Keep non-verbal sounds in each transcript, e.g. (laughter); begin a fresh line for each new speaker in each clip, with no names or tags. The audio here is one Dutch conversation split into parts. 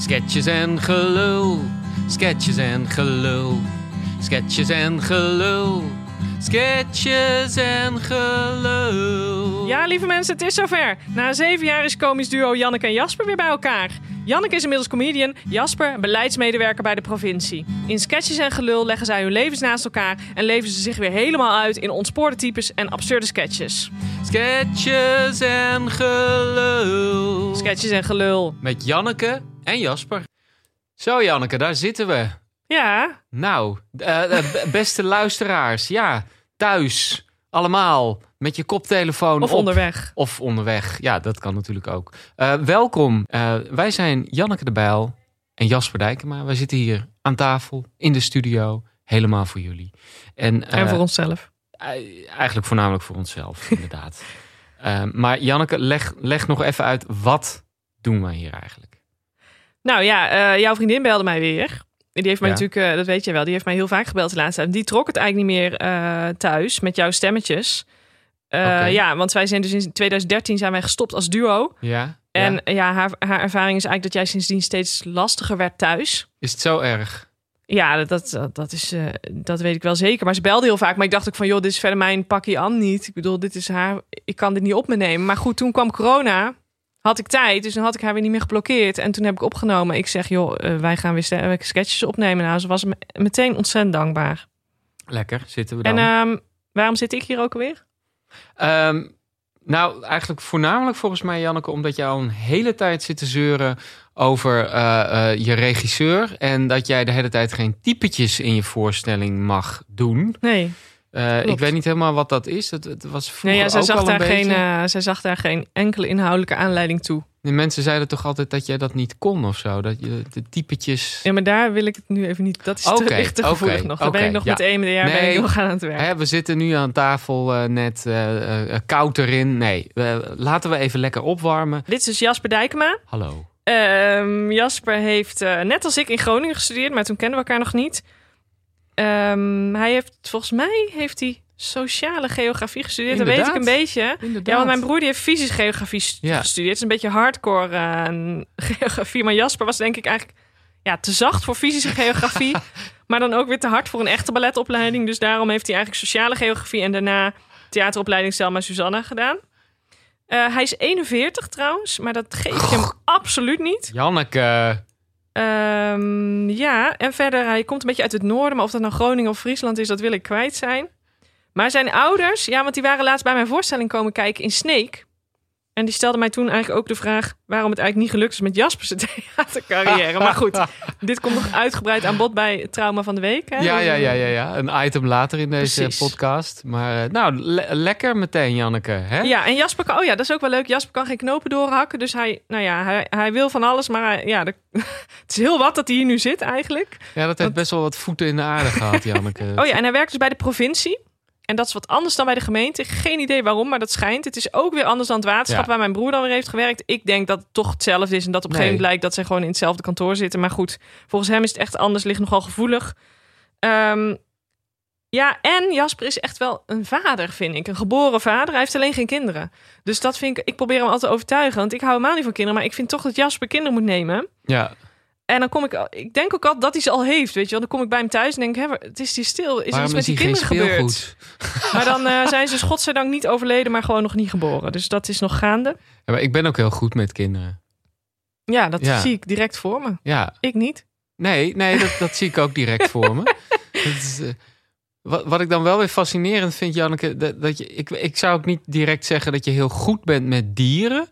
Sketches en gelul, sketches en gelul, sketches en gelul, sketches en gelul.
Ja, lieve mensen, het is zover. Na zeven jaar is komisch duo Janneke en Jasper weer bij elkaar. Janneke is inmiddels comedian, Jasper beleidsmedewerker bij de provincie. In sketches en gelul leggen zij hun levens naast elkaar en leven ze zich weer helemaal uit in ontspoorde types en absurde sketches.
Sketches en gelul.
Sketches en gelul.
Met Janneke en Jasper. Zo Janneke, daar zitten we.
Ja,
Nou, eh, eh, b- beste luisteraars, ja, thuis, allemaal, met je koptelefoon
of
op.
onderweg.
Of onderweg, ja, dat kan natuurlijk ook. Eh, welkom, Eh, wij zijn Janneke de Bijl en Jasper Dijkema. Wij zitten hier aan tafel, in de studio, helemaal voor jullie. En, eh,
en voor onszelf.
eh, Eigenlijk voornamelijk voor onszelf, (laughs) inderdaad. Eh, maar Janneke, leg, leg nog even uit, wat doen wij hier eigenlijk?
Nou ja, eh, jouw vriendin belde mij weer. Die heeft mij
Ja.
natuurlijk, eh, dat weet je wel, die heeft mij heel vaak gebeld de laatste tijd. Die trok het eigenlijk niet meer eh, thuis met jouw stemmetjes. Eh,
Oké.
Ja, want wij zijn dus in 2013 zijn wij gestopt als duo.
Ja?
En
Ja?
ja, haar, haar ervaring is eigenlijk dat jij sindsdien steeds lastiger werd thuis.
Is het zo erg?
Ja, dat, dat- dat, dat, is, eh, dat weet ik wel zeker. Maar ze belde heel vaak. Maar ik dacht ook van, joh, dit is verder mijn pakje aan niet. Ik bedoel, dit is haar. Ik kan dit niet op me nemen. Maar goed, toen kwam corona. Had ik tijd, dus dan had ik haar weer niet meer geblokkeerd. En toen heb ik opgenomen. Ik zeg, joh, eh, wij gaan weer ste- eh, sketches opnemen. Nou, ze was me- meteen ontzettend dankbaar.
Lekker, zitten we dan.
En ehm, waarom zit ik hier ook alweer?
Ehm, nou, eigenlijk voornamelijk volgens mij, Janneke, omdat jij al een hele tijd zit te zeuren over eh, eh, je regisseur. En dat jij de hele tijd geen typetjes in je voorstelling mag doen.
Nee,
Eh,
Klopt.
ik weet niet helemaal wat dat is. Het, het was
nee
vroeger
ja, zij,
ook
zag
al een
daar geen,
beetje.
eh, zij zag daar geen enkele inhoudelijke aanleiding toe.
De mensen zeiden toch altijd dat jij dat niet kon of zo? Dat je de typetjes...
Ja, maar daar wil ik het nu even niet. Dat is
Oké,
te, ligt (laughs) te
oké,
gevoelig nog. Daar ben
oké,
ik nog
ja.
met E EMDR ben
Nee.
ik nog aan het werk.
Hè, we zitten nu aan tafel eh, net eh, eh, koud erin. Nee, eh, laten we even lekker opwarmen.
Dit is dus Jasper Dijkema.
Hallo.
Ehm, Jasper heeft eh, net als ik in Groningen gestudeerd, maar toen kenden we elkaar nog niet. Ehm, hij heeft, volgens mij heeft hij sociale geografie gestudeerd. Dat weet ik
Inderdaad.
een beetje. Ja, want mijn broer die heeft fysische geografie st-
Ja.
gestudeerd. Het is een beetje hardcore eh, (laughs) geografie. Maar Jasper was denk ik eigenlijk ja, te zacht voor fysische geografie. maar dan ook weer te hard voor een echte balletopleiding. Dus daarom heeft hij eigenlijk sociale geografie en daarna theateropleiding Selma Susanna gedaan. Eh, hij is 41 trouwens, maar dat geeft je hem absoluut niet.
Janneke.
Ehm, ja, en verder, hij komt een beetje uit het noorden, maar of dat nou Groningen of Friesland is, dat wil ik kwijt zijn. Maar zijn ouders, ja, want die waren laatst bij mijn voorstelling komen kijken in Sneek. En die stelden mij toen eigenlijk ook de vraag waarom het eigenlijk niet gelukt is met Jasper's (laughs) theatercarrière. Maar
(laughs)
goed, dit komt nog uitgebreid aan bod bij het Trauma van de Week. Hè?
Ja, ja, ja, ja, ja. Een item later in deze
Precies.
podcast. Maar eh, nou, le- lekker meteen, Janneke. Hè?
Ja, en Jasper kan, oh ja, dat is ook wel leuk. Jasper kan geen knopen doorhakken, dus hij, nou ja, hij, hij wil van alles. Maar hij- ja, (laughs) de- het is heel wat dat hij hier nu zit eigenlijk.
Ja, dat heeft best wel wat voeten in de aarde gehad, Janneke.
(laughs) Oh ja, en hij werkt dus bij de provincie. En dat is wat anders dan bij de gemeente. Geen idee waarom, maar dat schijnt. Het is ook weer anders dan het waterschap
Ja.
waar mijn broer dan weer heeft gewerkt. Ik denk dat het toch hetzelfde is en dat op een gegeven moment
Nee.
blijkt dat ze gewoon in hetzelfde kantoor zitten. Maar goed, volgens hem is het echt anders, ligt nogal gevoelig. Ehm, ja, en Jasper is echt wel een vader, vind ik. Een geboren vader. Hij heeft alleen geen kinderen. Dus dat vind ik, ik probeer hem altijd te overtuigen. Want ik hou helemaal niet van kinderen, maar ik vind toch dat Jasper kinderen moet nemen.
Ja,
En dan kom ik, al- ik denk ook altijd dat hij ze al heeft, weet je wel. Dan kom ik bij hem thuis en denk, hè, waar- het is die stil. Is er iets
waarom
met
is
die
hier geen
kinderen gebeurd?
speelgoed?
(laughs) Maar dan eh, zijn ze dus godzijdank niet overleden, maar gewoon nog niet geboren. Dus dat is nog gaande.
Ja, maar ik ben ook heel goed met kinderen.
Ja, dat
Ja.
zie ik direct voor me.
Ja,
Ik niet.
nee, nee dat, dat zie ik ook
(laughs)
direct voor me. Dat is, eh, wat, wat ik dan wel weer fascinerend vind, Janneke, dat, dat je, ik, ik zou ook niet direct zeggen dat je heel goed bent met dieren,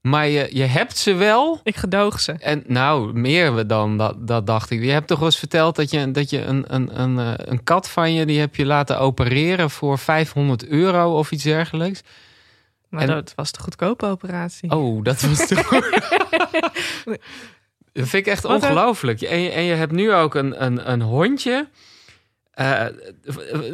maar je, je hebt ze wel.
Ik gedoog ze.
En nou, meer dan dat, dat dacht ik. Je hebt toch wel eens verteld dat je, dat je een, een, een, eh, een kat van je... die heb je laten opereren voor 500 euro of iets dergelijks.
Maar
En-
dat was de goedkope operatie.
Oh, dat was toch...
(laughs)
dat vind ik echt
Wat, eh?
ongelooflijk. En je, en je hebt nu ook een, een, een hondje... Eh,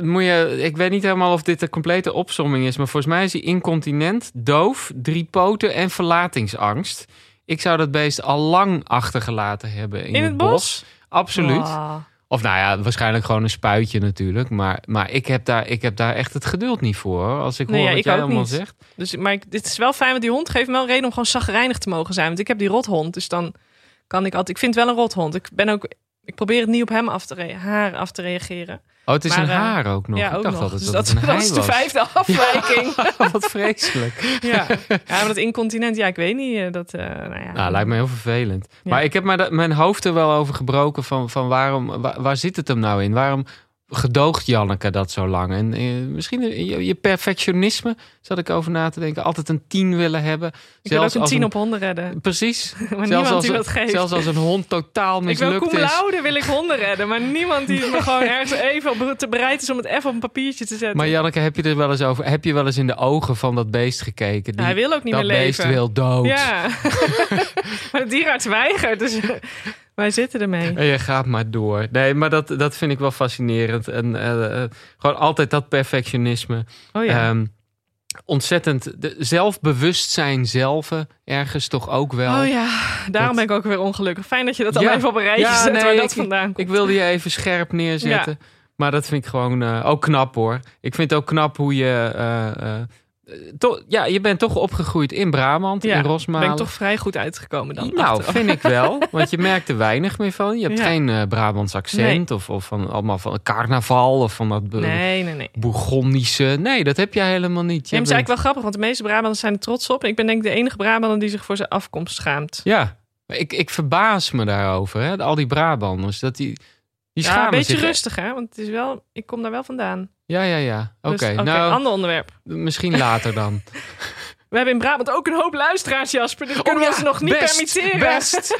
moet je, ik weet niet helemaal of dit de complete opsomming is, maar volgens mij is hij incontinent, doof, drie poten en verlatingsangst. Ik zou dat beest al lang achtergelaten hebben in,
In het bos?
Absoluut.
Ah.
Of nou ja, waarschijnlijk gewoon een spuitje natuurlijk. Maar, maar ik, heb daar, ik heb daar echt het geduld niet voor. hoor. Als ik
Nee,
hoor
ja,
wat
ik
jij
ook
allemaal
niet.
zegt.
Dus, maar ik, dit is wel fijn, want die hond geeft me wel een reden om gewoon zagrijnig te mogen zijn. Want ik heb die rothond, dus dan kan ik altijd. Ik vind het wel een rothond. Ik ben ook. Ik probeer het niet op hem af te re- haar af te reageren.
Oh, het is
Maar,
een
eh,
haar ook nog.
ja,
ik
ook
dacht
nog.
altijd
Dus
dat
dat
het een
was
hij was.
de vijfde afwijking.
(laughs) Wat
(laughs)
vreselijk.
Ja. ja, maar dat incontinent, ja, ik weet niet. eh, Dat, eh, nou ja.
Nou, lijkt me heel vervelend.
Ja.
Maar ik heb mijn, mijn hoofd er wel over gebroken van, van waarom, waar, waar zit het hem nou in? Waarom gedoogt Janneke dat zo lang? En eh, misschien eh, je, je perfectionisme, zat ik over na te denken. Altijd een tien willen hebben.
Ik wil ook een
als
10 op honden redden. (laughs)
Precies.
Maar niemand
als,
die
een-
dat geeft.
zelfs als een hond totaal
ik wil
mislukt
cum
is.
laude, wil ik honden redden. Maar niemand die me gewoon ergens even op, te bereid is om het even op een papiertje te zetten.
Maar Janneke, heb je er wel eens over? Heb je wel eens in de ogen van dat beest gekeken? Die,
Nou, Hij wil ook niet
dat
meer leven.
beest wil dood.
Ja.
(laughs)
maar de dierarts weigert, dus (laughs) wij zitten ermee.
En je gaat maar door. Nee, maar dat, dat vind ik wel fascinerend. En eh, eh, gewoon altijd dat perfectionisme.
Oh ja.
Ehm, ontzettend de, zelfbewustzijn zelf eh, ergens toch ook wel.
oh ja, daarom
dat-
ben ik ook weer ongelukkig. Fijn dat je dat
Ja.
allemaal even op een rijtje
Ja,
zet
nee,
waar dat
ik-
vandaan komt.
Ik wilde je even scherp neerzetten. Maar dat vind ik gewoon eh, ook knap hoor. Ik vind het ook knap hoe je. eh, eh, to- ja, je bent toch opgegroeid in Brabant,
Ja,
in
ben
Rosmalen.
ik toch vrij goed uitgekomen dan.
nou,
achteraf.
vind ik wel. Want je merkt er weinig meer van. Je hebt
Ja.
geen eh, Brabants accent. Of, of van allemaal van carnaval. Of van dat be-
Nee, nee, nee.
Bourgondische. Nee, dat heb jij helemaal niet. Je
James
bent-
is eigenlijk wel grappig, want de meeste Brabanders zijn er trots op. En ik ben denk ik de enige Brabander die zich voor zijn afkomst schaamt.
Ja, maar ik, ik verbaas me daarover. Hè? Al die Brabanders, dat die, die
Ja, een
schamen
beetje
zich.
rustig, hè? Want het is wel, ik kom daar wel vandaan.
Ja, ja, ja. Oké,
Dus, oké,
nou,
ander onderwerp.
misschien later
(laughs)
dan.
We hebben in Brabant ook een hoop luisteraars, Jasper. Dit kunnen
Oh ja,
we ons nog niet
best,
permitteren. (laughs)
best.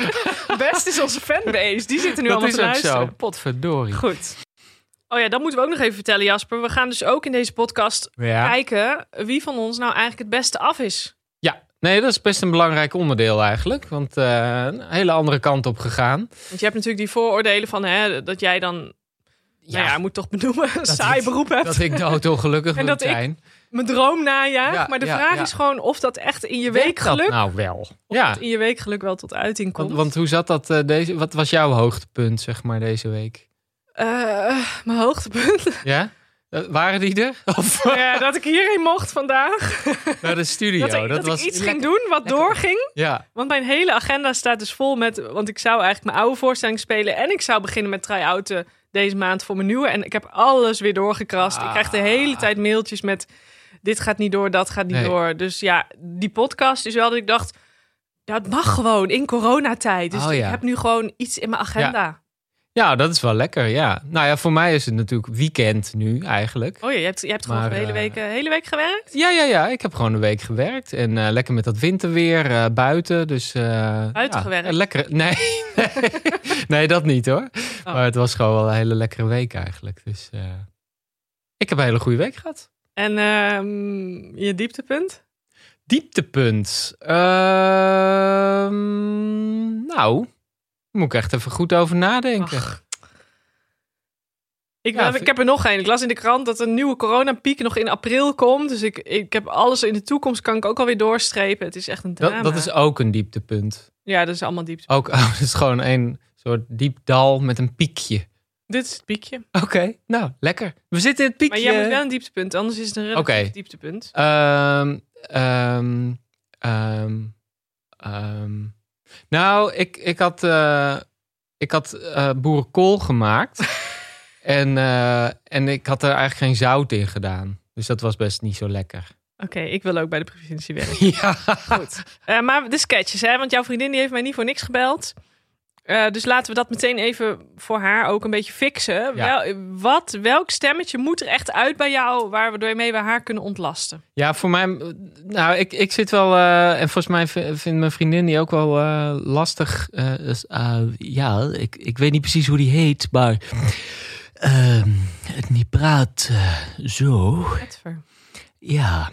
Best is onze fanbase. Die zitten nu
dat
allemaal
is
te
ook
luisteren.
zo. Potverdorie.
Goed. Oh ja, dat moeten we ook nog even vertellen, Jasper. We gaan dus ook in deze podcast
Ja.
kijken wie van ons nou eigenlijk het beste af is.
ja, nee, dat is best een belangrijk onderdeel eigenlijk. Want eh, een hele andere kant op gegaan.
Want je hebt natuurlijk die vooroordelen van hè, dat jij dan, ja, nou ja, moet toch benoemen, een (laughs) saai
ik-
beroep hebt.
dat ik doodongelukkig
(laughs) En
moet
dat ik
zijn.
Mijn droom najaagt.
Ja,
maar de
ja,
vraag
ja.
is gewoon of dat echt in je
Werkt dat
weekgeluk,
nou wel. Ja,
in je weekgeluk wel tot uiting komt.
want, want hoe zat dat eh, deze... Wat was jouw hoogtepunt, zeg maar, deze week?
Eh, mijn hoogtepunt.
(laughs) Ja? Eh, waren die er? (laughs) Of
Ja, dat ik hierheen mocht vandaag.
naar de studio?
dat ik, dat
oh, was
ik iets
lekker-
ging doen wat doorging.
Ja.
Want mijn hele agenda staat dus vol met. Want ik zou eigenlijk mijn oude voorstelling spelen. En ik zou beginnen met try-outen deze maand voor mijn nieuwe. En ik heb alles weer doorgekrast. Ik
Ah.
krijg de hele tijd mailtjes met. Dit gaat niet door, dat gaat niet
Nee.
door. Dus ja, die podcast is wel dat ik dacht. Ja, het mag gewoon in coronatijd. Dus
Oh ja.
ik heb nu gewoon iets in mijn agenda.
Ja, dat is wel lekker, ja. Nou ja, voor mij is het natuurlijk weekend nu eigenlijk.
Oh ja, je hebt, je hebt gewoon
Maar,
de hele
eh,
week, eh, hele week gewerkt.
Ja, ja, ja. Ik heb gewoon een week gewerkt. En eh, lekker met dat winterweer eh, buiten. Dus, eh,
Buiten
ja,
gewerkt?
een lekkere... Nee, (laughs) nee. nee, dat niet hoor.
Oh.
Maar het was gewoon wel een hele lekkere week eigenlijk. Dus eh, ik heb een hele goede week gehad.
En ehm, je dieptepunt?
Dieptepunt. Ehm, nou, moet ik echt even goed over nadenken.
Ik,
Ja,
wel-
vind-
ik heb er nog één. Ik las in de krant dat een nieuwe coronapiek nog in april komt. Dus ik, ik heb alles in de toekomst kan ik ook alweer doorstrepen. Het is echt een drama.
dat, dat is ook een dieptepunt.
Ja, dat is allemaal diep.
Ook, (laughs) oh, het is gewoon een soort diep dal met een piekje.
Dit is het piekje.
Oké, nou, lekker. We zitten in het
Maar
piekje.
jij moet wel een dieptepunt, anders is het een relatief
Oké.
dieptepunt.
Ehm, ehm, ehm, ehm. Nou, ik, ik had, eh, ik had eh, boerenkool gemaakt. en, eh, en ik had er eigenlijk geen zout in gedaan. Dus dat was best niet zo lekker.
Oké, ik wil ook bij de provincie werken. (laughs)
ja.
Goed. Eh, maar de sketches, hè? want jouw vriendin die heeft mij niet voor niks gebeld. Eh, dus laten we dat meteen even voor haar ook een beetje fixen.
Ja.
Wel, eh, wat, welk stemmetje moet er echt uit bij jou... waardoor mee we haar kunnen ontlasten?
Ja, voor mij. Nou, ik, ik zit wel. eh, en volgens mij v- vindt mijn vriendin die ook wel eh, lastig. eh, is, eh, ja, ik, ik weet niet precies hoe die heet, maar. ehm, het niet praat eh, zo.
Edver.
Ja.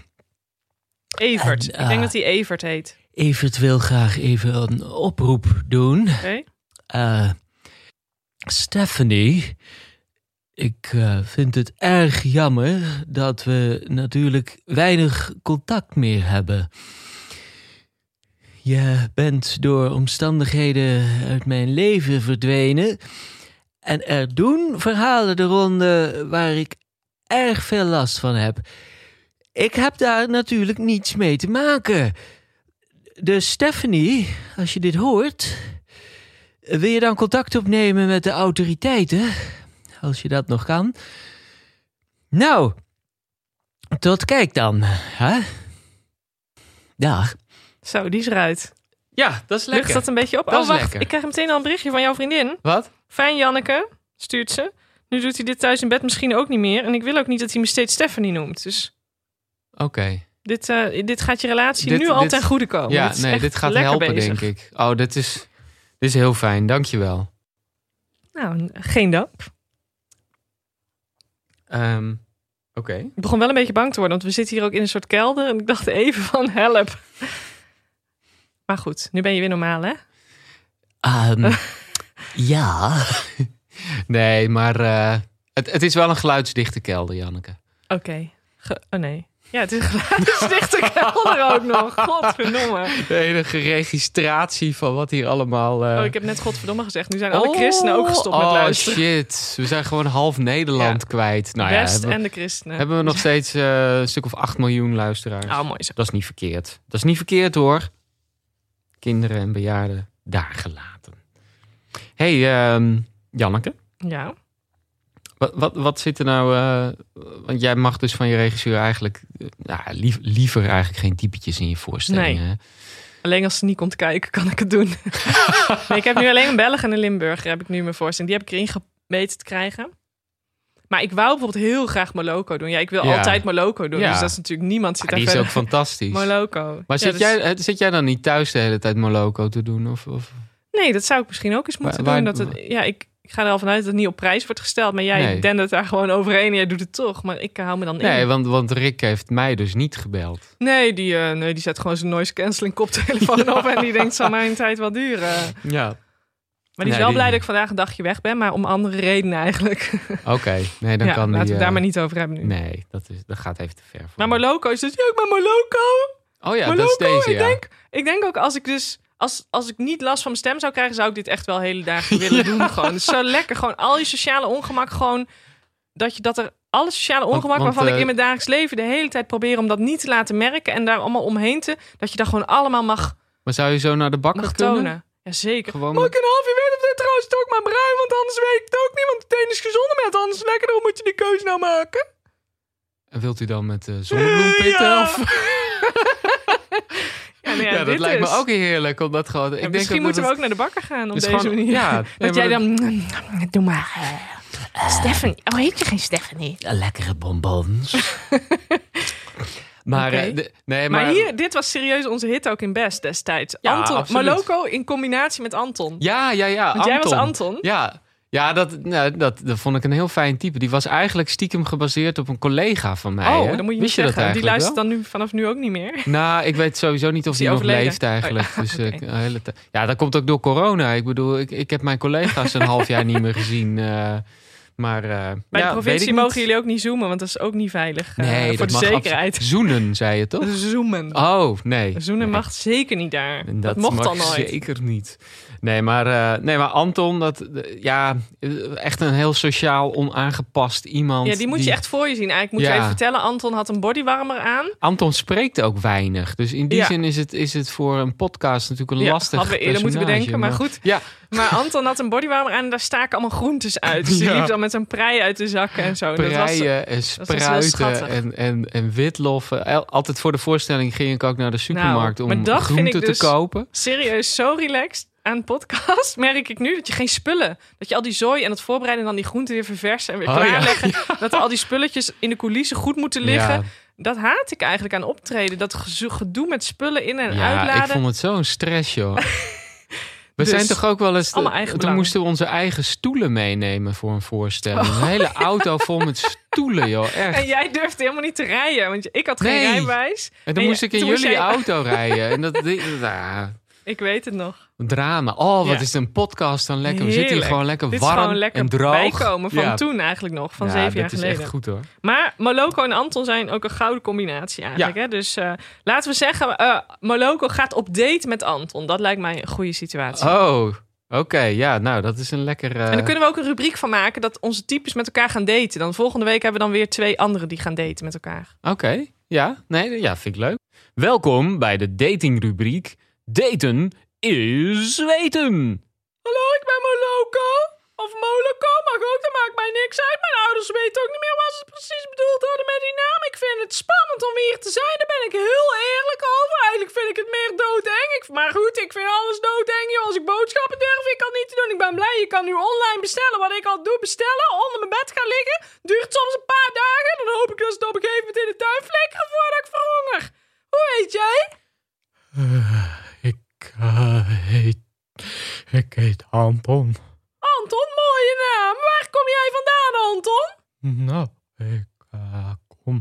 Evert.
En,
ik denk
eh,
dat hij Evert heet.
Evert wil graag even een oproep doen.
Oké.
Eh, Stephanie, ik eh, vind het erg jammer dat we natuurlijk weinig contact meer hebben. Je bent door omstandigheden uit mijn leven verdwenen. En er doen verhalen de ronde waar ik erg veel last van heb. Ik heb daar natuurlijk niets mee te maken. Dus Stephanie, als je dit hoort,
Wil je dan contact opnemen met de autoriteiten? Als je dat nog kan. Nou, tot kijk dan. Hè? Dag.
Zo, die is eruit.
Ja, dat is
Lucht
lekker.
dat een beetje op.
Dat
oh,
is
wacht.
lekker.
Ik krijg meteen al een berichtje van jouw vriendin.
Wat?
Fijn, Janneke, stuurt ze. Nu doet hij dit thuis in bed misschien ook niet meer. En ik wil ook niet dat hij me steeds Stephanie noemt. Dus
Oké.
dit, eh, dit gaat je relatie
Dit-
nu al
dit-
ten goede komen.
Ja,
Het is
nee,
echt
dit gaat
lekker
helpen,
bezig.
denk ik. Oh, dit is, dit is heel fijn. Dankjewel.
Nou, n- geen dank.
Ehm Oké.
Ik begon wel een beetje bang te worden, want we zitten hier ook in een soort kelder. En ik dacht even van help. Maar goed, nu ben je weer normaal, hè?
Ehm,
(laughs)
ja.
(laughs) Nee, maar eh, het, het is wel een geluidsdichte kelder, Janneke.
Oké. Ge- Oh nee. Ja, het is (laughs) een geluidsdichte kelder ook nog. Godverdomme.
De enige registratie van wat hier allemaal... eh,
Oh, ik heb net godverdomme gezegd. Nu zijn alle
Oh,
christenen ook gestopt met
Oh
luisteren.
shit, we zijn gewoon half Nederland kwijt. Nou ja,
West
hebben,
en de christenen.
hebben we nog steeds eh, een stuk of 8 miljoen luisteraars.
Oh, mooi zo.
Dat is niet verkeerd. Dat is niet verkeerd hoor. Kinderen en bejaarden daar gelaten. hey, ehm, Janneke.
Ja.
Wat, wat, wat zit er nou... eh, want jij mag dus van je regisseur eigenlijk... eh, nou, lief- liever eigenlijk geen typetjes in je voorstellingen. hè?
Alleen als ze niet komt kijken, kan ik het
(laughs)
doen. nee, ik heb nu alleen een Belg en een Limburger, heb ik nu mijn voorstelling. Die heb ik erin ge- weten te krijgen. Maar ik wou bijvoorbeeld heel graag Moloko doen. Ja, ik wil
Ja.
altijd Moloko doen.
Ja.
Dus dat is natuurlijk niemand zit
Ah,
daar
die is ook
verder.
fantastisch.
Moloko.
Maar
Ja,
zit,
dus-
jij, eh, zit jij dan niet thuis de hele tijd Moloko te doen? Of, of...
Nee, dat zou ik misschien ook eens moeten
Waar-
doen.
waar-
Dat het, ja, ik, ik ga er al vanuit dat het niet op prijs wordt gesteld. Maar jij
Nee.
dendert daar gewoon overheen en jij doet het toch. Maar ik hou me dan in.
Nee, want, want Rick heeft mij dus niet gebeld.
Nee, die, eh, nee, die zet gewoon zijn noise
(laughs)
cancelling koptelefoon op. En die denkt, zal mijn tijd wel duren?
Ja.
Maar
Nee,
die is wel
die-
blij dat ik vandaag een dagje weg ben, maar om andere redenen eigenlijk.
Oké, nee, dan
ja,
kan
laten we
die...
het
eh,
daar maar niet over hebben nu.
Nee, dat, is, dat gaat even te ver. Voor
Maar
me.
Moloko is dus ja, ik ben Moloko.
Oh ja,
Maar
dat is
Loco,
deze,
ik
ja.
denk- Ik denk ook als ik dus als, als ik niet last van mijn stem zou krijgen, zou ik dit echt wel hele
(laughs)
dagen willen doen. Gewoon Het is zo lekker, gewoon al je sociale ongemak, gewoon dat je dat er alle sociale ongemak
want,
waarvan
eh,
ik in mijn dagelijks leven de hele tijd probeer om dat niet te laten merken en daar allemaal omheen te, dat je dat gewoon allemaal mag,
Maar zou je zo naar de bakker
mag
kunnen?
tonen. Jazeker.
Gewoon
Mag
met-
ik een half uur verder? Of dit trouwens ook maar bruin, want anders weet ik het ook niet. Want het een is gezonder met, anders is lekker. Dan moet je die keuze nou maken.
En wilt u dan met eh zonnebloempitten?
(laughs) Ja.
of-
Ja, nou ja,
ja, dat
dit
lijkt
is.
me ook heerlijk. Omdat gewoon, ik
Ja,
denk
misschien
ook
moeten we
dat
ook naar de bakker gaan op
het-
deze
is gewoon-
manier.
Ja, nee,
(laughs) dat jij
maar
dan... (laughs) Doe maar. eh, Stephanie. Oh, heet je geen Stephanie?
Lekkere bonbons.
Maar, eh,
Oké.
de- nee,
Maar,
maar,
hier, dit was serieus onze hit ook in Best destijds.
Ja,
Anton,
absoluut.
Maloko in combinatie met Anton.
Ja, ja, ja.
Want jij was Anton.
Ja, ja dat, nou, dat, dat vond ik een heel fijn type. Die was eigenlijk stiekem gebaseerd op een collega van mij.
Oh,
hè?
dan moet je niet
Wist je
zeggen.
dat
Die
eigenlijk wel?
luistert dan nu, vanaf nu ook niet meer.
Nou, ik weet sowieso niet of
Is
hij
hij
nog
overleden? Oh,
leeft eigenlijk. Dus, eh,
oké.
ik- een hele tijd- ja, dat komt ook door corona. Ik bedoel, ik, ik heb mijn collega's een half jaar niet meer gezien. eh, maar eh,
Bij
ja,
de provincie
weet ik
mogen
niet.
jullie ook niet zoomen, want dat is ook niet veilig eh,
Nee,
voor
dat
de
mag
zekerheid.
absolu- Zoenen, zei je toch?
Zoomen.
Oh, nee.
Zoenen
Nee.
mag zeker niet daar.
En
Dat, mocht dan
mag
nooit.
Zeker niet. Nee, maar, eh, nee, maar Anton, dat, eh, ja, eh, echt een heel sociaal onaangepast iemand.
Ja, die moet je echt voor je zien. Eigenlijk moet
Ja.
je even vertellen, Anton had een bodywarmer aan.
Anton spreekt ook weinig. Dus in die
Ja.
zin is het, is het voor een podcast natuurlijk een
ja,
lastig
hadden we eerder moeten
personage,
bedenken, maar goed.
Ja,
Maar Anton had een bodywarmer aan en daar staken allemaal groentes uit.
(laughs)
Dus die
Ja.
liep dan met een prei uit de zakken en zo. En dat was-
preien en
was heel
spruiten
schattig.
en, en, en witloffen. El- Altijd voor de voorstelling ging ik ook naar de
Nou,
supermarkt
maar
om
dat vind
groenten
ik dus-
te kopen.
serieus zo relaxed aan een podcast (laughs) merk ik nu dat je geen spullen, dat je al die zooi en het voorbereiden en dan die groenten weer verversen en weer
Oh, (laughs) ja.
klaarleggen, dat al die spulletjes in de coulissen goed moeten liggen.
Ja.
Dat haat ik eigenlijk aan optreden, dat gezo- gedoe met spullen in en
Ja, ik
uitladen.
vond het zo'n stress,
(laughs)
joh. We
Dus,
zijn toch ook wel eens.
allemaal
Toen
eigen belang. Oh.
moesten we onze eigen stoelen meenemen voor een voorstelling. een hele auto vol
(laughs)
met stoelen, joh. Echt.
En jij durfde helemaal niet te rijden, want ik had geen
Nee.
rijbewijs.
En
en
dan
je-
moest ik in
toen
jullie
moest jij-
auto rijden. En dat. die-
(laughs)
ah,
Ik weet het nog.
een drama. Oh, wat
Ja.
is een podcast dan lekker? We zitten hier
Heerlijk.
gewoon lekker
Dit is
warm
gewoon lekker
en droog.
bijkomen van
Ja.
toen eigenlijk nog, van
Ja,
zeven jaar
dat is echt
geleden.
goed hoor.
Maar Moloko en Anton zijn ook een gouden combinatie eigenlijk. Hè? Dus eh, laten we zeggen, eh Moloko gaat op date met Anton. Dat lijkt mij een goede situatie.
Oh, oké. Ja, nou, dat is een lekker. eh,
En dan kunnen we ook een rubriek van maken dat onze types met elkaar gaan daten. Dan volgende week hebben we dan weer twee anderen die gaan daten met elkaar.
Oké, ja. Nee, ja, vind ik leuk. Welkom bij de datingrubriek Daten is weten.
Hallo, ik ben Moloko. Of Moloko mag ook, dat maakt mij niks uit. Mijn ouders weten ook niet meer wat ze precies bedoeld hadden met die naam. Ik vind het spannend om hier te zijn, daar ben ik heel eerlijk over. Eigenlijk vind ik het meer doodeng. Ik, maar goed, ik vind alles doodeng, joh. Als ik boodschappen durf, ik kan niet te doen. Ik ben blij, je kan nu online bestellen. Wat ik al doe, bestellen, onder mijn bed gaan liggen. Duurt soms een paar dagen. Dan hoop ik dat ze het op een gegeven moment in de tuin flikkeren voordat ik verhonger. Hoe heet jij?
Ik eh, heet. Ik heet Anton.
Anton, mooie naam. Waar kom jij vandaan, Anton?
Nou, ik eh, kom.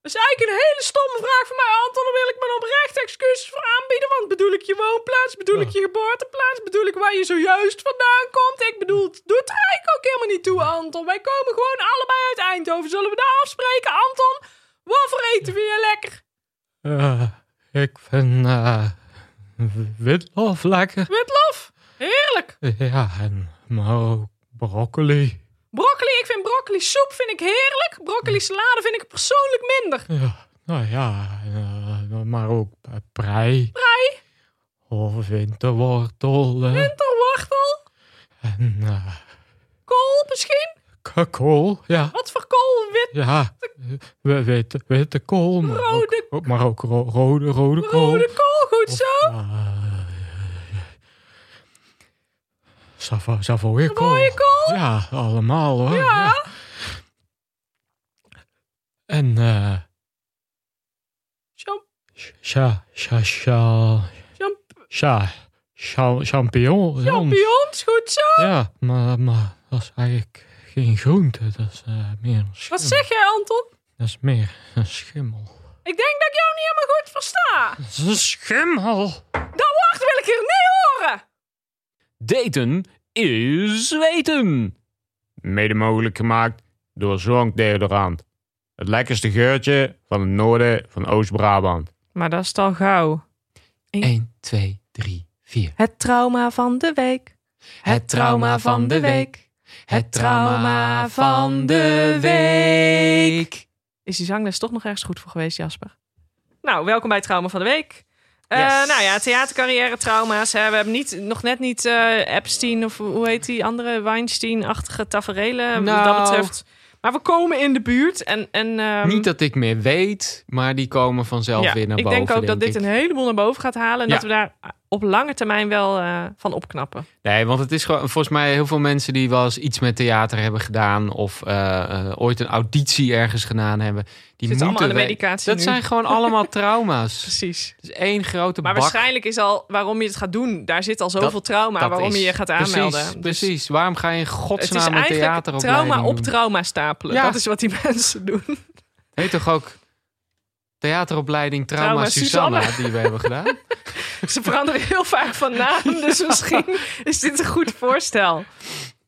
Dat is eigenlijk een hele stomme vraag van mij, Anton. Daar wil ik mijn oprechte excuses voor aanbieden. Want bedoel ik je woonplaats? Bedoel ik je geboorteplaats? Bedoel ik waar je zojuist vandaan komt? Ik bedoel, het doet er eigenlijk ook helemaal niet toe, Anton. Wij komen gewoon allebei uit Eindhoven. Zullen we daar afspreken, Anton? Wat voor eten vind je lekker?
Eh, ik vind eh witlof lekker.
Witlof? Heerlijk.
Ja, en maar ook broccoli.
Broccoli, ik vind broccoli soep vind ik heerlijk. Broccoli salade vind ik persoonlijk minder.
Ja, nou ja, eh, maar ook eh, prei.
Prei,
Of winterwortel. eh,
winterwortel,
en eh,
kool misschien?
kool, ja.
Wat voor kool? Wit,
Ja, we weten, witte kool. Maar ook,
rode,
ook- maar ook ro- rode, rode kool.
rode kool. Goed zo.
Ah, Savo- Savoie kool.
Mooie kool.
Ja, allemaal hoor.
Ja.
En eh
Champ,
sha, sha, sha,
champ,
sha, sha, champignon.
champignons, goed zo.
Ja, maar, maar dat is eigenlijk geen groente. Dat is eh, meer een schimmel.
Wat zeg jij, Anton?
Dat is meer een schimmel.
Ik denk dat ik jou niet helemaal goed versta.
Dat is een schimmel.
Dat woord wil ik hier niet horen.
Daten is weten.
mede mogelijk gemaakt door Zonk Deodorant. Het lekkerste geurtje van het noorden van Oost-Brabant.
Maar dat is het al gauw.
1, 2, 3, 4.
Het trauma van de week.
Het trauma van de week. Het trauma van de week.
Is die zangles toch nog ergens goed voor geweest, Jasper? Nou, welkom bij Trauma van de Week. Eh,
Yes.
Nou ja, theatercarrière trauma's. Hè. We hebben niet, nog net niet eh, Epstein of hoe heet die andere Weinstein-achtige taferelen. Wat
Nou.
dat betreft. Maar we komen in de buurt. En, en, ehm,
Niet dat ik meer weet, maar die komen vanzelf
ja,
weer naar
ik
boven.
denk ook dat dit
ik.
een heleboel naar boven gaat halen. En
Ja.
dat we daar op lange termijn wel eh, van opknappen.
Nee, want het is gewoon volgens mij heel veel mensen die wel eens iets met theater hebben gedaan. of eh, eh, ooit een auditie ergens gedaan hebben. Die
Zit allemaal aan de
moeten we-
medicatie
Dat
nu.
zijn gewoon
(laughs)
allemaal trauma's. Het
Precies.
is één grote
Maar
bak.
waarschijnlijk is al waarom je het gaat doen, daar zit al zoveel trauma
Dat
waarom
is-
je je gaat
precies,
aanmelden. Dus
Precies. Waarom ga je in
Het is
godsnaam een
eigenlijk
theater
trauma op trauma stapelen.
Ja.
Dat is wat die (laughs) mensen doen.
Heet toch ook theateropleiding Trauma,
Trauma
Susanna, die we hebben gedaan?
(laughs) Ze veranderen heel vaak van naam,
(laughs)
dus misschien is dit een goed voorstel.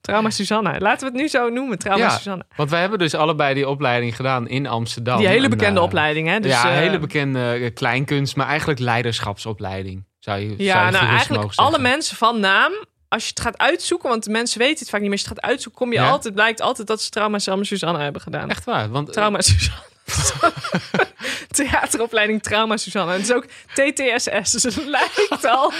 Trauma Susanna. Laten we het nu zo noemen, Trauma
Ja,
Susanna.
Want wij hebben dus allebei die opleiding gedaan in Amsterdam.
Die hele
En,
bekende
eh,
opleiding, hè? Dus,
ja,
eh,
hele bekende eh, kleinkunst, maar eigenlijk leiderschapsopleiding. Zou je, zou je
Ja, nou
gerust
eigenlijk
mogen
alle
zeggen.
mensen van naam, als je het gaat uitzoeken, want de mensen weten het vaak niet, maar als je het gaat uitzoeken, kom je
Ja.
altijd, blijkt altijd dat ze Trauma Sam Susanna hebben gedaan.
Echt waar, want eh,
Trauma Susanna. (laughs) Theateropleiding Trauma Susanna. Het is ook TTSS, dus het lijkt
(laughs)
al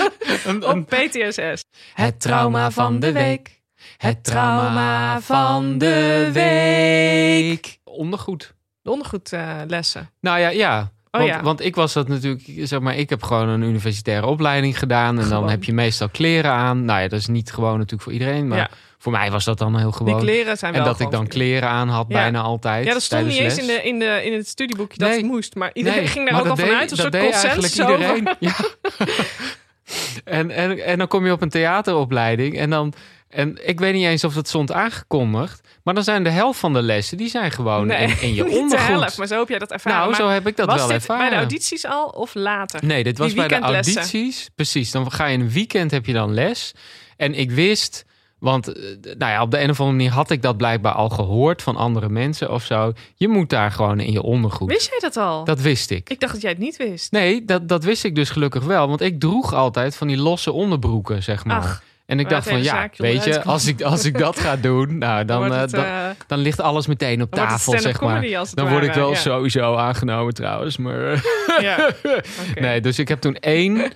eh,
op PTSS.
Het trauma van de week. Het trauma van de week.
ondergoed.
De ondergoedlessen.
Nou ja, ja.
Oh
want,
ja.
want ik was dat natuurlijk, zeg maar, ik heb gewoon een universitaire opleiding gedaan. En
Gewoon.
dan heb je meestal kleren aan. Nou ja, dat is niet gewoon natuurlijk voor iedereen, maar
Ja.
voor mij was dat dan heel
die
gewoon.
kleren zijn
en
wel
dat ik
gewoon
dan
verkeerd.
kleren aan had,
Ja.
bijna altijd.
Ja, dat stond niet
tijdens
eens
les.
in, de, in, de, in het studieboekje dat
Nee.
het moest. Maar iedereen
Nee,
ging daar
maar
ook al
dat deed-
vanuit. Een
dat
soort
deed
consensus
eigenlijk iedereen.
over. (laughs)
Ja. en, en, en dan kom je op een theateropleiding en dan... En ik weet niet eens of dat stond aangekondigd. Maar dan zijn de helft van de lessen, die zijn gewoon
Nee,
in, in je
(laughs) niet
ondergoed.
de helft, maar zo heb jij dat ervaren.
nou,
Maar
zo heb ik dat
was
wel
dit
ervaren.
bij de audities al of later?
Nee, dit was bij de
weekendlessen.
audities. Precies, dan ga je een weekend heb je dan les. En ik wist, want eh, nou ja, op de een of andere manier had ik dat blijkbaar al gehoord van andere mensen of zo. Je moet daar gewoon in je ondergoed.
Wist jij dat al?
Dat wist ik.
Ik dacht dat jij het niet wist.
Nee, dat, dat wist ik dus gelukkig wel. Want ik droeg altijd van die losse onderbroeken, zeg maar.
Ach,
en ik
waar
dacht
het
van,
hele
ja,
zaakje
weet
onderuit
je,
komt.
als ik, als ik dat ga
(laughs)
doen, nou, dan,
wordt
eh,
het,
dan,
eh, dan
dan ligt alles meteen op
wordt het
tafel,
stand-up
zeg maar.
comedy als het
Dan word ik
ware,
wel
ja.
(laughs) sowieso aangenomen trouwens, maar...
Ja. Oké.
Nee, dus ik heb toen één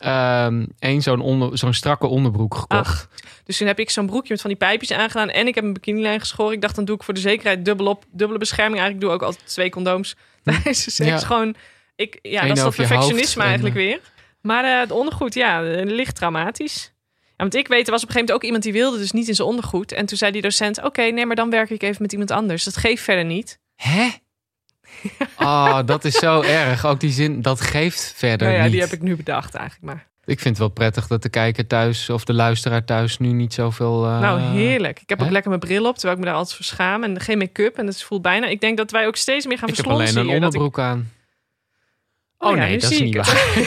ehm één zo'n onder- zo'n strakke onderbroek gekocht.
Ach. Dus toen heb ik zo'n broekje met van die pijpjes aangedaan. En ik heb een bikinilijn geschoren. Ik dacht, dan doe ik voor de zekerheid dubbel op, dubbele bescherming. Eigenlijk doe ik ook altijd twee condooms. (laughs) tijdens de seks.
Ja.
gewoon, ik, ja,
Eén
dat is dat
over je hoofd
perfectionisme
en,
eigenlijk weer. Maar eh, het ondergoed, ja, eh, licht dramatisch. Ja, want ik weet, er was op een gegeven moment ook iemand die wilde dus niet in zijn ondergoed. En toen zei die docent, oké, nee, maar dan werk ik even met iemand anders. Dat geeft verder niet.
Hè? Oh, dat is
(laughs)
zo erg. Ook die zin, dat geeft verder
Nou ja,
niet.
die heb ik nu bedacht eigenlijk maar.
Ik vind het wel prettig dat de kijker thuis of de luisteraar thuis nu niet zoveel... eh,
Nou, heerlijk. Ik heb ook
hè?
lekker mijn bril op, terwijl ik me daar altijd voor schaam. En geen make-up. En het voelt bijna... Ik denk dat wij ook steeds meer gaan
Ik heb
verslonsen
alleen een
hier, dat ik-
onderbroek aan.
Oh
Oh,
ja, nu
nee, dat is
zie
niet
ik
waar.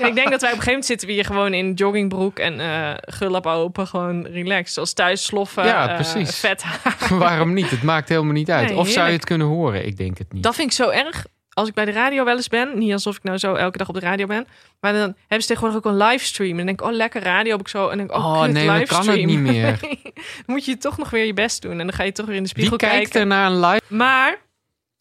Ja, ik denk dat wij op een gegeven moment zitten we hier gewoon in joggingbroek en eh gullap open, gewoon relaxed. Zoals thuis sloffen,
Ja,
eh,
precies.
vet haar.
Waarom niet? Het maakt helemaal niet uit.
Nee,
of zou je
heerlijk.
het kunnen horen? Ik denk het niet.
Dat vind ik zo erg. Als ik bij de radio wel eens ben, niet alsof ik nou zo elke dag op de radio ben, maar dan hebben ze tegenwoordig ook een livestream. En dan denk ik, oh lekker radio heb ik zo. En dan denk ik, oh,
Oh,
kut,
nee, maar kan het
livestream.
niet meer.
Nee. (laughs) dan moet je toch nog weer je best doen. En dan ga je toch weer in de
Wie
spiegel
kijkt
kijken.
er naar een live?
Maar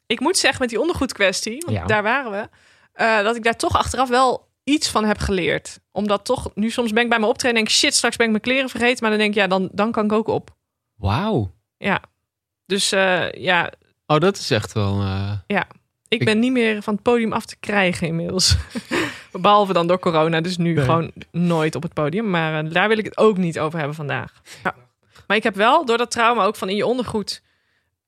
ik moet zeggen, met die ondergoedkwestie, want
Ja.
daar waren we, eh, dat ik daar toch achteraf wel iets van heb geleerd. Omdat toch, nu soms ben ik bij mijn optreden en denk ik, shit, straks ben ik mijn kleren vergeten. Maar dan denk ik, ja, dan, dan kan ik ook op.
Wauw.
Dus eh, ja,
Oh, dat is echt wel... eh,
ik
Ik-
ben niet meer van het podium af te krijgen inmiddels. (laughs) Behalve dan door corona, dus nu
Nee.
gewoon nooit op het podium. Maar eh, daar wil ik het ook niet over hebben vandaag. Ja. Maar ik heb wel, door dat trauma ook van in je ondergoed...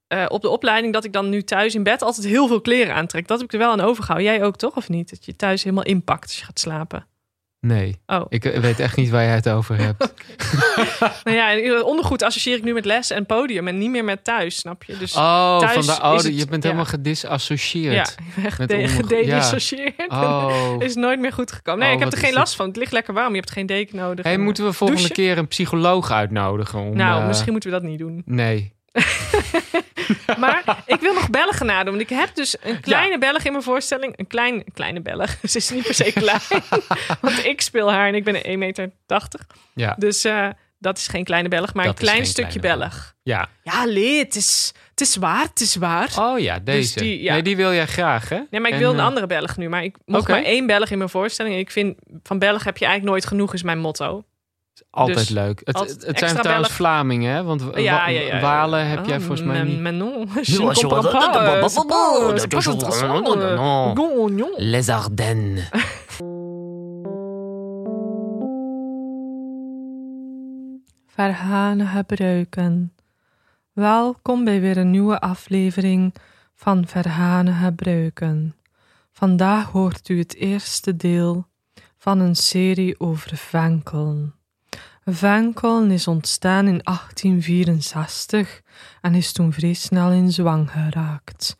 eh, op de opleiding dat ik dan nu thuis in bed altijd heel veel kleren aantrek. Dat heb ik er wel aan overgehouden. Jij ook toch, of niet? Dat je thuis helemaal inpakt als je gaat slapen.
Nee.
Oh.
Ik eh, weet echt niet waar je het over hebt.
Nou ja, en ondergoed associeer ik nu met les en podium en niet meer met thuis, snap je? Dus
Oh,
Thuis
van de, oh
is het-
je bent
ja.
helemaal gedisassocieerd.
ja, (laughs) echt
Met
de-
ondergoed, ja.
gededissocieerd.
Oh.
(laughs) Is nooit meer goed gekomen. Nee,
Oh,
ik heb
wat is
er geen
dit?
last van. Het ligt lekker warm. Je hebt geen deken nodig.
Hey,
En, eh,
moeten we volgende
douchen?
keer een psycholoog uitnodigen? Om,
Nou,
eh,
misschien moeten we dat niet doen.
Nee.
Maar
(laughs)
ik wil nog Belgen nadoen. Want ik heb dus een kleine Belg in mijn voorstelling. Een klein, kleine Belg. (laughs) Ze is niet per se
(laughs)
klein. want ik speel haar en ik ben 1,80 meter.
Ja.
Dus eh, dat is geen kleine Belg, maar
Dat
een
is
klein
geen
stukje
kleine
Belg.
Ja.
Ja, lee, het is, het is waar, het is waar.
Oh ja, deze.
die, ja.
Nee, die wil jij graag, hè?
Nee, maar ik
En,
wil een
eh,
andere Belg nu. Maar ik mocht
oké.
maar één Belg in mijn voorstelling. En ik vind, van Belg heb je eigenlijk nooit genoeg, is mijn motto.
Altijd
dus
leuk. Het,
altijd
het zijn
extra
trouwens
Belg.
Vlamingen, hè? Want wa-
Ja, ja, ja.
Walen heb jij
Ah,
volgens mij
men-
niet.
Menon. (laughs)
Je
ne
was-
comprends
je was-
pas,
dat-
euh,
dat-
c'est
dat-
pas-
dat-
c'est
dat-
pas
dat-
ça,
dat-
euh,
dat- dat-
gon, gnon.
Les Ardennes.
Verhane Breuken. Welkom bij weer een nieuwe aflevering van Verhane Breuken. Vandaag hoort u het eerste deel van een serie over Venkeln. Venkeln is ontstaan in 1864 en is toen vrij snel in zwang geraakt.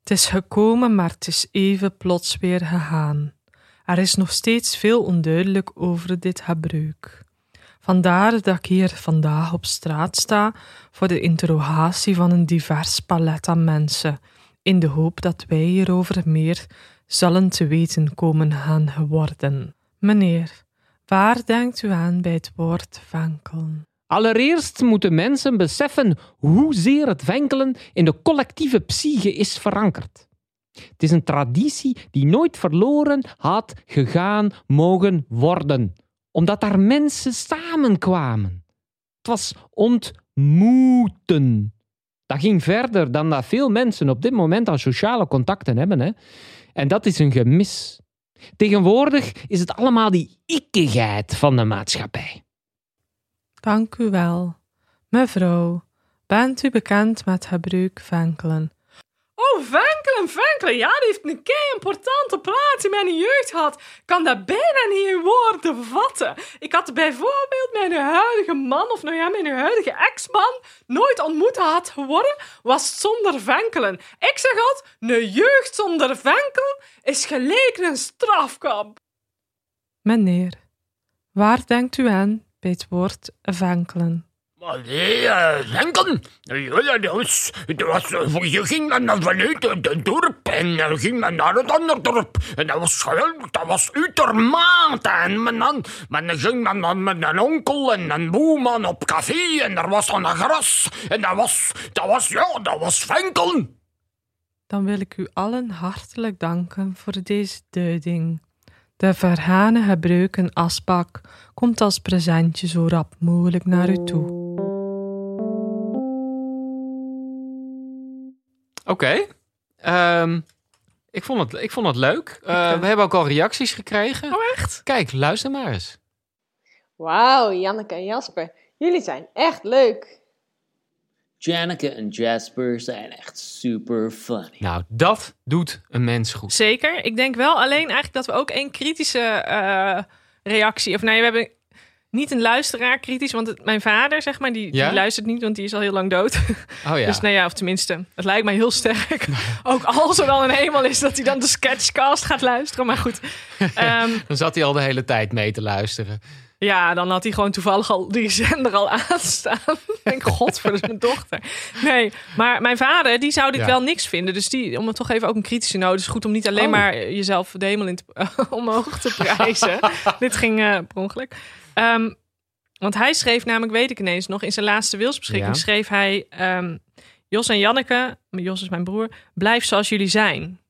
Het is gekomen, maar het is even plots weer gegaan. Er is nog steeds veel onduidelijk over dit gebruik. Vandaar dat ik hier vandaag op straat sta voor de interrogatie van een divers palet aan mensen, in de hoop dat wij hierover meer zullen te weten komen gaan geworden. Meneer, waar denkt u aan bij het woord vankelen?
Allereerst moeten mensen beseffen hoezeer het wenkelen in de collectieve psyche is verankerd. Het is een traditie die nooit verloren had gegaan mogen worden, omdat daar mensen samenkwamen. Het was ontmoeten. Dat ging verder dan dat veel mensen op dit moment aan sociale contacten hebben. Hè? En dat is een gemis. Tegenwoordig is het allemaal die ikkigheid van de maatschappij.
Dank u wel. Mevrouw, bent u bekend met gebruik vankelen? Oh, vankelen, vankelen. Ja, die heeft een kei importante plaats in mijn jeugd gehad. Ik kan dat bijna niet in woorden vatten. Ik had bijvoorbeeld mijn huidige man, of nou ja, mijn huidige ex-man, nooit ontmoet had geworden, was zonder vankelen. Ik zeg altijd, een jeugd zonder vankelen is gelijk een strafkamp. Meneer, Waar denkt u aan bij het woord vankelen?
Maar die Renken, eh, ja, dat was, dat was, eh, je ging dan naar vanuit het dorp en dan ging men naar het andere dorp. En dat was geweldig, dat was uitermate. En men dan, men dan ging men dan met een onkel en een boeman op café en er was dan een gras. En dat was, dat was, ja, dat was Venkel.
Dan wil ik u allen hartelijk danken voor deze duiding. De verhane gebruiken asbak komt als presentje zo rap mogelijk naar u toe.
Oké. Ehm, ik, vond het, ik vond het leuk. Eh,
Oké.
We hebben ook al reacties gekregen.
Oh, echt?
Kijk, luister maar eens.
Wauw, Janneke en Jasper. Jullie zijn echt leuk.
Janneke en Jasper zijn echt super funny.
Nou, dat doet een mens goed.
Zeker. Ik denk wel alleen eigenlijk dat we ook één kritische eh, reactie. Of nee, we hebben niet een luisteraar kritisch. Want het- mijn vader, zeg maar, die,
Ja?
die luistert niet, want die is al heel lang dood.
Oh ja.
Dus nou ja, of tenminste, het lijkt mij heel sterk. ook als er dan een hemel is dat hij dan de sketchcast gaat luisteren. Maar goed. Ehm,
Dan zat hij al de hele tijd mee te luisteren.
Ja, dan had hij gewoon toevallig al die (laughs) zender al aanstaan. Ik denk, god, voor dat is mijn dochter. Nee, maar mijn vader, die zou dit
Ja.
wel niks vinden. Dus die, om het toch even ook een kritische noot. is goed om niet alleen
Oh.
maar jezelf de hemel in te- (laughs) omhoog te
(laughs)
prijzen. dit ging eh, per ongeluk. Ehm, want hij schreef namelijk, weet ik ineens nog, in zijn laatste wilsbeschikking
Ja.
schreef hij... ehm, Jos en Janneke, maar Jos is mijn broer, blijf zoals jullie zijn.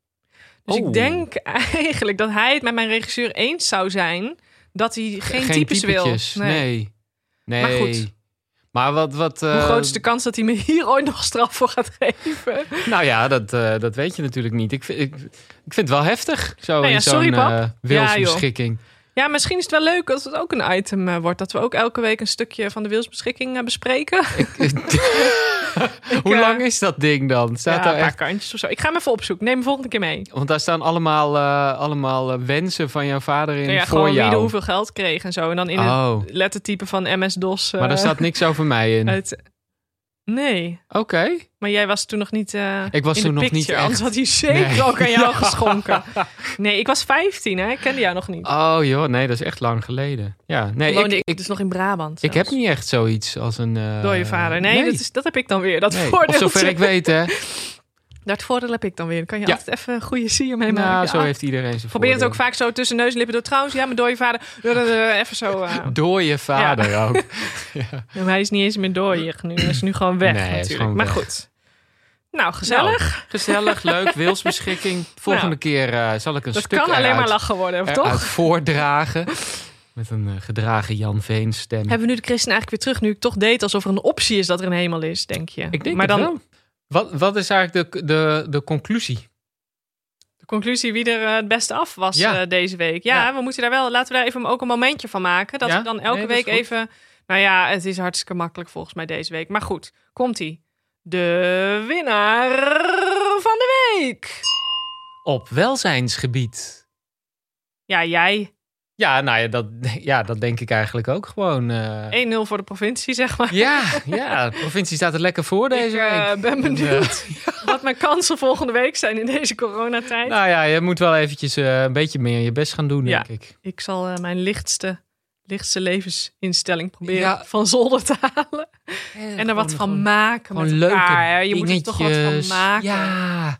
Dus
Oh.
ik denk (laughs) eigenlijk dat hij het met mijn regisseur eens zou zijn... dat hij geen, types
typetjes.
wil.
Nee. nee.
Maar goed.
Maar wat... wat
Hoe
eh,
groot is de kans dat hij me (laughs) hier ooit nog straf voor gaat geven?
Nou ja, dat, eh, dat weet je natuurlijk niet. Ik, vind- ik, ik vind het wel heftig, zo
Nou ja,
in zo'n
sorry, pap.
eh, wilsbeschikking.
Ja, misschien is het wel leuk als het ook een item eh, wordt. Dat we ook elke week een stukje van de wilsbeschikking eh, bespreken.
(laughs)
(laughs)
Hoe
eh,
lang is dat ding dan? Staat
ja,
daar
een paar
echt...
kantjes of zo. Ik ga hem even opzoeken. Neem hem volgende keer mee.
Want daar staan allemaal, eh, allemaal eh, wensen van jouw vader in
Nou ja,
voor
gewoon
jou.
wie er hoeveel geld kreeg en zo. En dan in
Oh,
het lettertype van MS-DOS. eh,
maar daar staat niks over mij in.
(laughs) uit- Nee,
Oké.
maar jij was toen nog niet. eh,
Ik was
in
toen
de
nog niet
picture, Anders
echt.
had hij zeker
Nee.
ook aan
(laughs)
jou geschonken. Nee, ik was 15, hè? Ik kende jou nog niet.
Oh joh, nee, dat is echt lang geleden. Ja, nee, ik,
Woonde ik,
ik,
dus nog in Brabant.
ik heb
zelfs.
niet echt zoiets als een... eh,
Door je vader. Nee, Dat, is, dat heb ik dan weer. Dat
nee. Of
voordeel.
zover ik weet,
(laughs)
hè.
Dat voordeel heb ik dan weer. Dan kan je
Ja.
altijd even een goede sier mee maken.
Nou, zo
Ah,
heeft iedereen zijn
Probeer het ook
voordeel.
vaak zo tussen neus en lippen door. Trouwens, ja, mijn dode vader. Eh, Even zo. eh.
Door je vader
(laughs)
ook.
Ja, maar hij is niet eens meer dooier nu. Hij is nu gewoon weg
Nee, hij is
natuurlijk.
gewoon
maar
weg.
goed. Nou, gezellig.
Gezellig, leuk, wilsbeschikking.
(laughs)
Volgende
Nou,
keer eh, zal ik een
dat
stuk
kan alleen
eruit,
maar lachen worden, of
eruit
toch?
voordragen. Met een eh, gedragen Jan Veen stem.
Hebben we nu de christen eigenlijk weer terug? Nu ik toch deed alsof er een optie is dat er een hemel is, denk je?
Ik denk
maar dan
het wel. Wat, wat is eigenlijk de, de, de conclusie?
de conclusie wie er eh, het beste af was
Ja.
eh, deze week. Ja,
Ja.
we moeten daar wel. Laten we daar even ook een momentje van maken. Dat
Ja?
we dan elke
Nee, dat is
week
goed.
even. Nou ja, het is hartstikke makkelijk volgens mij deze week. Maar goed, komt ie. De winnaar van de week.
Op welzijnsgebied.
Ja, jij.
Ja, nou ja, dat, (laughs) ja, dat denk ik eigenlijk ook gewoon. eh.
1-0 voor de provincie, zeg maar.
ja, ja, de provincie staat er lekker voor deze
ik eh,
week.
ben
En, eh,
benieuwd
(laughs)
wat mijn kansen volgende week zijn in deze coronatijd.
nou ja, je moet wel eventjes eh, een beetje meer je best gaan doen,
Ja.
denk ik.
Ik zal eh, mijn lichtste, lichtste levensinstelling proberen
Ja.
van zolder te halen. En er wat van maken met
Gewoon leuke
elkaar. hè. Je moet er toch wat van
dingetjes.
maken.
Ja,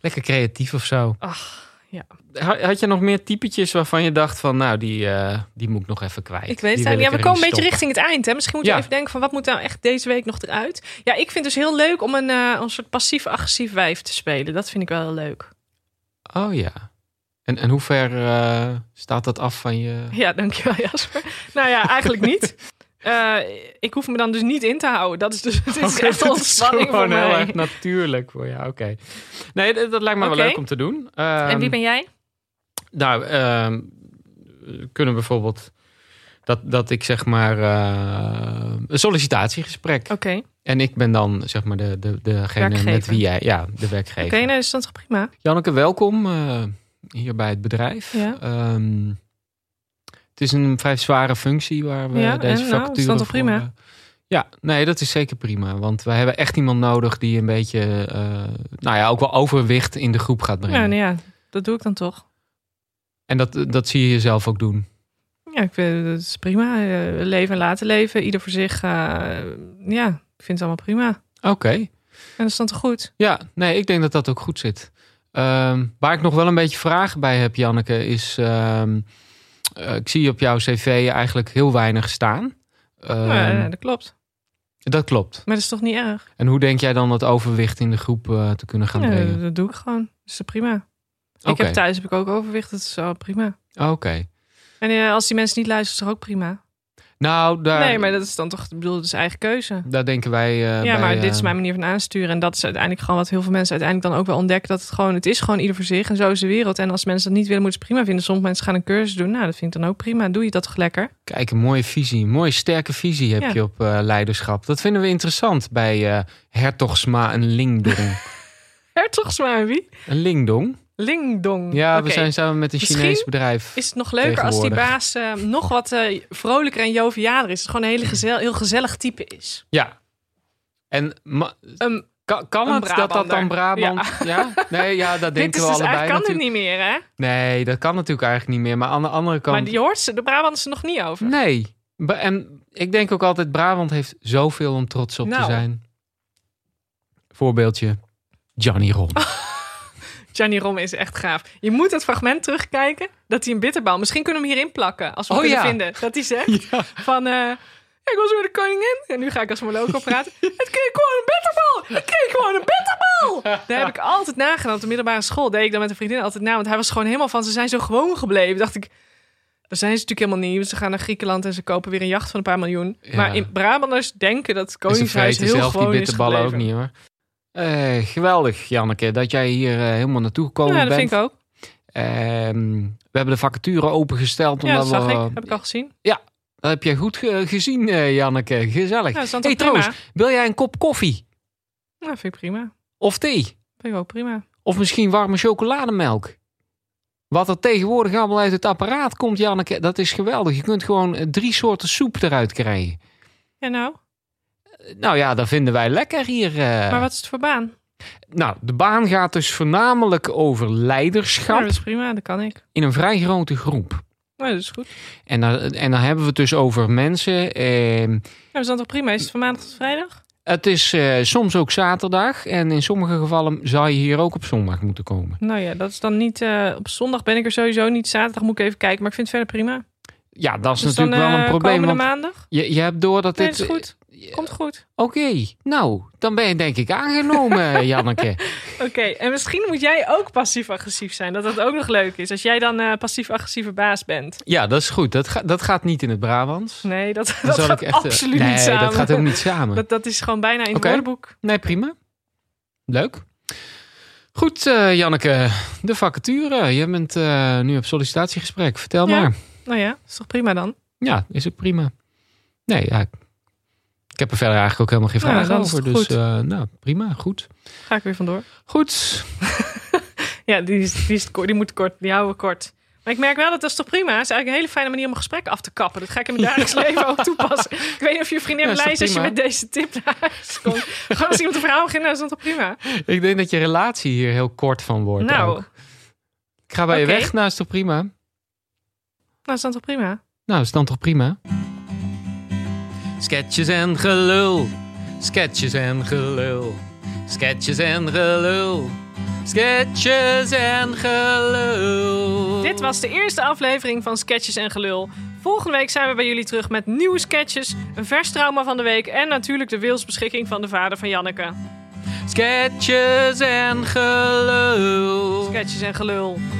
lekker creatief of zo.
Ach,
Ha- Had je nog meer typetjes waarvan je dacht van, nou, die, eh, die moet ik nog even kwijt.
ik weet het
Die wil
eigenlijk. Ja,
ik
we
erin
komen een beetje
stoppen.
richting het eind. Hè? Misschien moeten
Ja.
we even denken van wat moet nou echt deze week nog eruit? Ja, ik vind het dus heel leuk om een, eh, een soort passief-agressief wijf te spelen. Dat vind ik wel heel leuk.
Oh ja. En, en hoe ver eh, staat dat af van je...
(laughs) Ja, dankjewel Jasper. nou ja, eigenlijk niet.
(laughs)
Eh, ik hoef me dan dus niet in te houden. Dat is dus dit is echt
Oh, (laughs) Dat is
ontspanning voor
gewoon heel
mij.
erg natuurlijk voor jou, oké. Nee, dat, dat lijkt me
Oké.
wel leuk om te doen.
en wie
Ehm,
ben jij?
Nou, ehm, kunnen we bijvoorbeeld dat, dat ik zeg maar eh, een sollicitatiegesprek.
Oké, oké,
En ik ben dan zeg maar de, de, degene met
Werkgever.
wie jij, ja, de werkgever.
nou, dus dat is toch prima.
Janneke, welkom eh, hier bij het bedrijf.
Ja.
Ehm, het is een vrij zware functie waar we
Ja,
deze
en nou,
vacature
is dat toch
voor,
prima?
eh, ja, nee, dat is zeker prima. Want we hebben echt iemand nodig die een beetje, eh, nou ja, ook wel overwicht in de groep gaat brengen.
Nou, nou ja, dat doe ik dan toch.
En dat, dat zie je jezelf ook doen.
Ja, ik vind het is prima. Eh, Leven en laten leven. Ieder voor zich. eh, ja, ik vind het allemaal prima.
Oké.
En dat is dan toch goed?
Ja, nee, ik denk dat dat ook goed zit. Ehm, waar ik nog wel een beetje vragen bij heb, Janneke, is... ehm, eh, ik zie op jouw cv eigenlijk heel weinig staan. Ehm,
Ja, ja, dat klopt.
Dat klopt.
Maar dat is toch niet erg?
En hoe denk jij dan dat overwicht in de groep eh, te kunnen gaan
Ja,
brengen?
dat doe ik gewoon. Dat is toch prima? Ik
Oké.
heb thuis heb ik ook overwicht. Dat is wel prima.
Oké.
En eh, als die mensen niet luisteren, is dat ook prima.
Nou, daar,
Nee, maar dat is dan toch, ik bedoel, dat is eigen keuze.
daar denken wij. eh,
ja,
bij,
maar dit
eh,
is mijn manier van aansturen. En dat is uiteindelijk gewoon wat heel veel mensen uiteindelijk dan ook wel ontdekken. Dat het gewoon, het is gewoon ieder voor zich. En zo is de wereld. En als mensen dat niet willen, moeten ze het prima vinden. Sommige mensen gaan een cursus doen. Nou, dat vind ik dan ook prima. Doe je dat toch lekker?
Kijk, een mooie visie. Een mooie sterke visie heb
Ja.
je op eh, leiderschap. Dat vinden we interessant bij eh Hertogsma en
(laughs)
Lingdong.
Hertogsma, wie?
een Lingdong?
Lingdong.
Ja, we
Oké.
zijn samen met een
Misschien
Chinees bedrijf.
Is het nog leuker als die
Tegenwoordig.
baas eh, nog wat eh, vrolijker en jovialer is? Dat het gewoon een hele gezel, heel gezellig type is.
Ja. En ma-
Ehm,
kan, kan
Een
het dat dat dan
Brabander.
Brabant... Ja, nee, ja, dat
(laughs) dit
denken
is
we
dus
allebei
eigenlijk kan het
natuurlijk.
niet meer, hè?
Nee, dat kan natuurlijk eigenlijk niet meer. Maar aan de andere kant...
Maar die hoort ze, de Brabanters er nog niet over.
Nee. Ba- En ik denk ook altijd, Brabant heeft zoveel om trots op
Nou.
te zijn. Voorbeeldje. Johnny Ron.
Oh, Gianni Rom is echt gaaf. Je moet het fragment terugkijken dat hij een bitterbal. Misschien kunnen we hem hierin plakken als we hem
Oh,
kunnen
ja.
vinden. Dat hij
(laughs)
zegt van. eh, ik was weer de koningin en nu ga ik als Moloko
(laughs)
praten. Het kreeg gewoon een bitterbal! Het kreeg gewoon een bitterbal! Daar
(laughs)
heb ik altijd nagedaan. Op de middelbare school deed ik dan met een vriendin altijd na. Want hij was gewoon helemaal van, ze zijn zo gewoon gebleven. Dacht ik, daar zijn ze natuurlijk helemaal niet. want Ze gaan naar Griekenland en ze kopen weer een jacht van een paar miljoen.
Ja.
Maar in Brabanders denken dat het
En ze
koningshuis
vreten
heel
zelf die
gewoon is
bitterballen ook
gebleven.
niet hoor. Eh, geweldig, Janneke, dat jij hier eh, helemaal naartoe gekomen
ja, dat
bent.
vind ik ook.
Ehm, we hebben de vacature opengesteld.
Ja,
Omdat
dat zag
we,
ik. Heb ik al gezien.
Dat heb jij goed ge- gezien, eh, Janneke. Gezellig.
Ja, dat is dan
hey,
toch prima?
trouwens, wil jij een kop koffie?
Nou, vind ik prima.
Of thee?
Vind ik ook prima.
Of misschien warme chocolademelk? Wat er tegenwoordig allemaal uit het apparaat komt, Janneke, dat is geweldig. Je kunt gewoon eh, drie soorten soep eruit krijgen.
Ja, nou.
Nou ja, dat vinden wij lekker hier. eh.
Maar wat is het voor baan?
Nou, de baan gaat dus voornamelijk over
Ja,
leiderschap
Nou, dat is prima, dat kan ik.
in een vrij grote groep.
Nou, dat is goed. Ja,
En dan, en dan hebben we het dus over mensen. ehm,
dat is dan toch prima? Is het van maandag tot vrijdag?
het is eh, soms ook zaterdag. En in sommige gevallen zou je hier ook op zondag moeten komen.
Nou ja, dat is dan niet... eh, op zondag ben ik er sowieso niet. Zaterdag moet ik even kijken, maar ik vind het verder prima.
Ja, dat is
dus dan
natuurlijk wel
eh,
een probleem.
komende
Want
maandag?
je, je hebt door dat
Nee,
dit.
dat is goed.
eh,
Komt goed.
Oké, nou, dan ben je denk ik (laughs) aangenomen, Janneke.
Oké, en misschien moet jij ook passief-agressief zijn. Dat dat ook nog leuk is. Als jij dan eh, passief-agressieve baas bent.
Ja, dat is goed. Dat, ga- dat gaat niet in het Brabants.
Nee, dat,
Dan
dat
zal
gaat
ik echt, eh,
absoluut
nee,
niet samen.
dat gaat ook niet samen.
Dat, dat is gewoon bijna in het
Oké.
woordenboek.
Nee, prima. Leuk. Goed, eh, Janneke. De vacature. Je bent eh, nu op sollicitatiegesprek. Vertel
Ja.
maar.
Nou ja, is toch prima dan?
Ja, is ook prima. Nee, ja. ik- Ik heb er verder eigenlijk ook helemaal geen
Nou,
vragen
dan is
over.
het
Dus
goed.
eh, nou, prima. Goed.
Ga ik weer vandoor.
Goed.
Ja, die, is, die, is, ko- die moet kort. Die houden we kort. Maar ik merk wel dat dat is toch prima. Het is eigenlijk een hele fijne manier om een gesprek af te kappen. Dat ga
(laughs)
ik in mijn dagelijks leven ook toepassen. Ik weet niet of je vriendin
Ja, is
blij
toch
is als je
prima?
met deze tip naar huis
(laughs)
komt. Gewoon als iemand een verhaal begint, nou, is dat toch prima?
Ik denk dat je relatie hier heel kort van wordt.
nou,
ook. Ik ga bij
oké.
je weg. Nou, is toch prima?
nou, is dat toch prima?
Nou, is dan toch prima? Sketches en gelul. Sketches en gelul. Sketches en gelul. Sketches en gelul.
Dit was de eerste aflevering van Sketches en Gelul. Volgende week zijn we bij jullie terug met nieuwe sketches, een vers trauma van de week en natuurlijk de wilsbeschikking van de vader van Janneke.
Sketches en gelul.
Sketches en Gelul.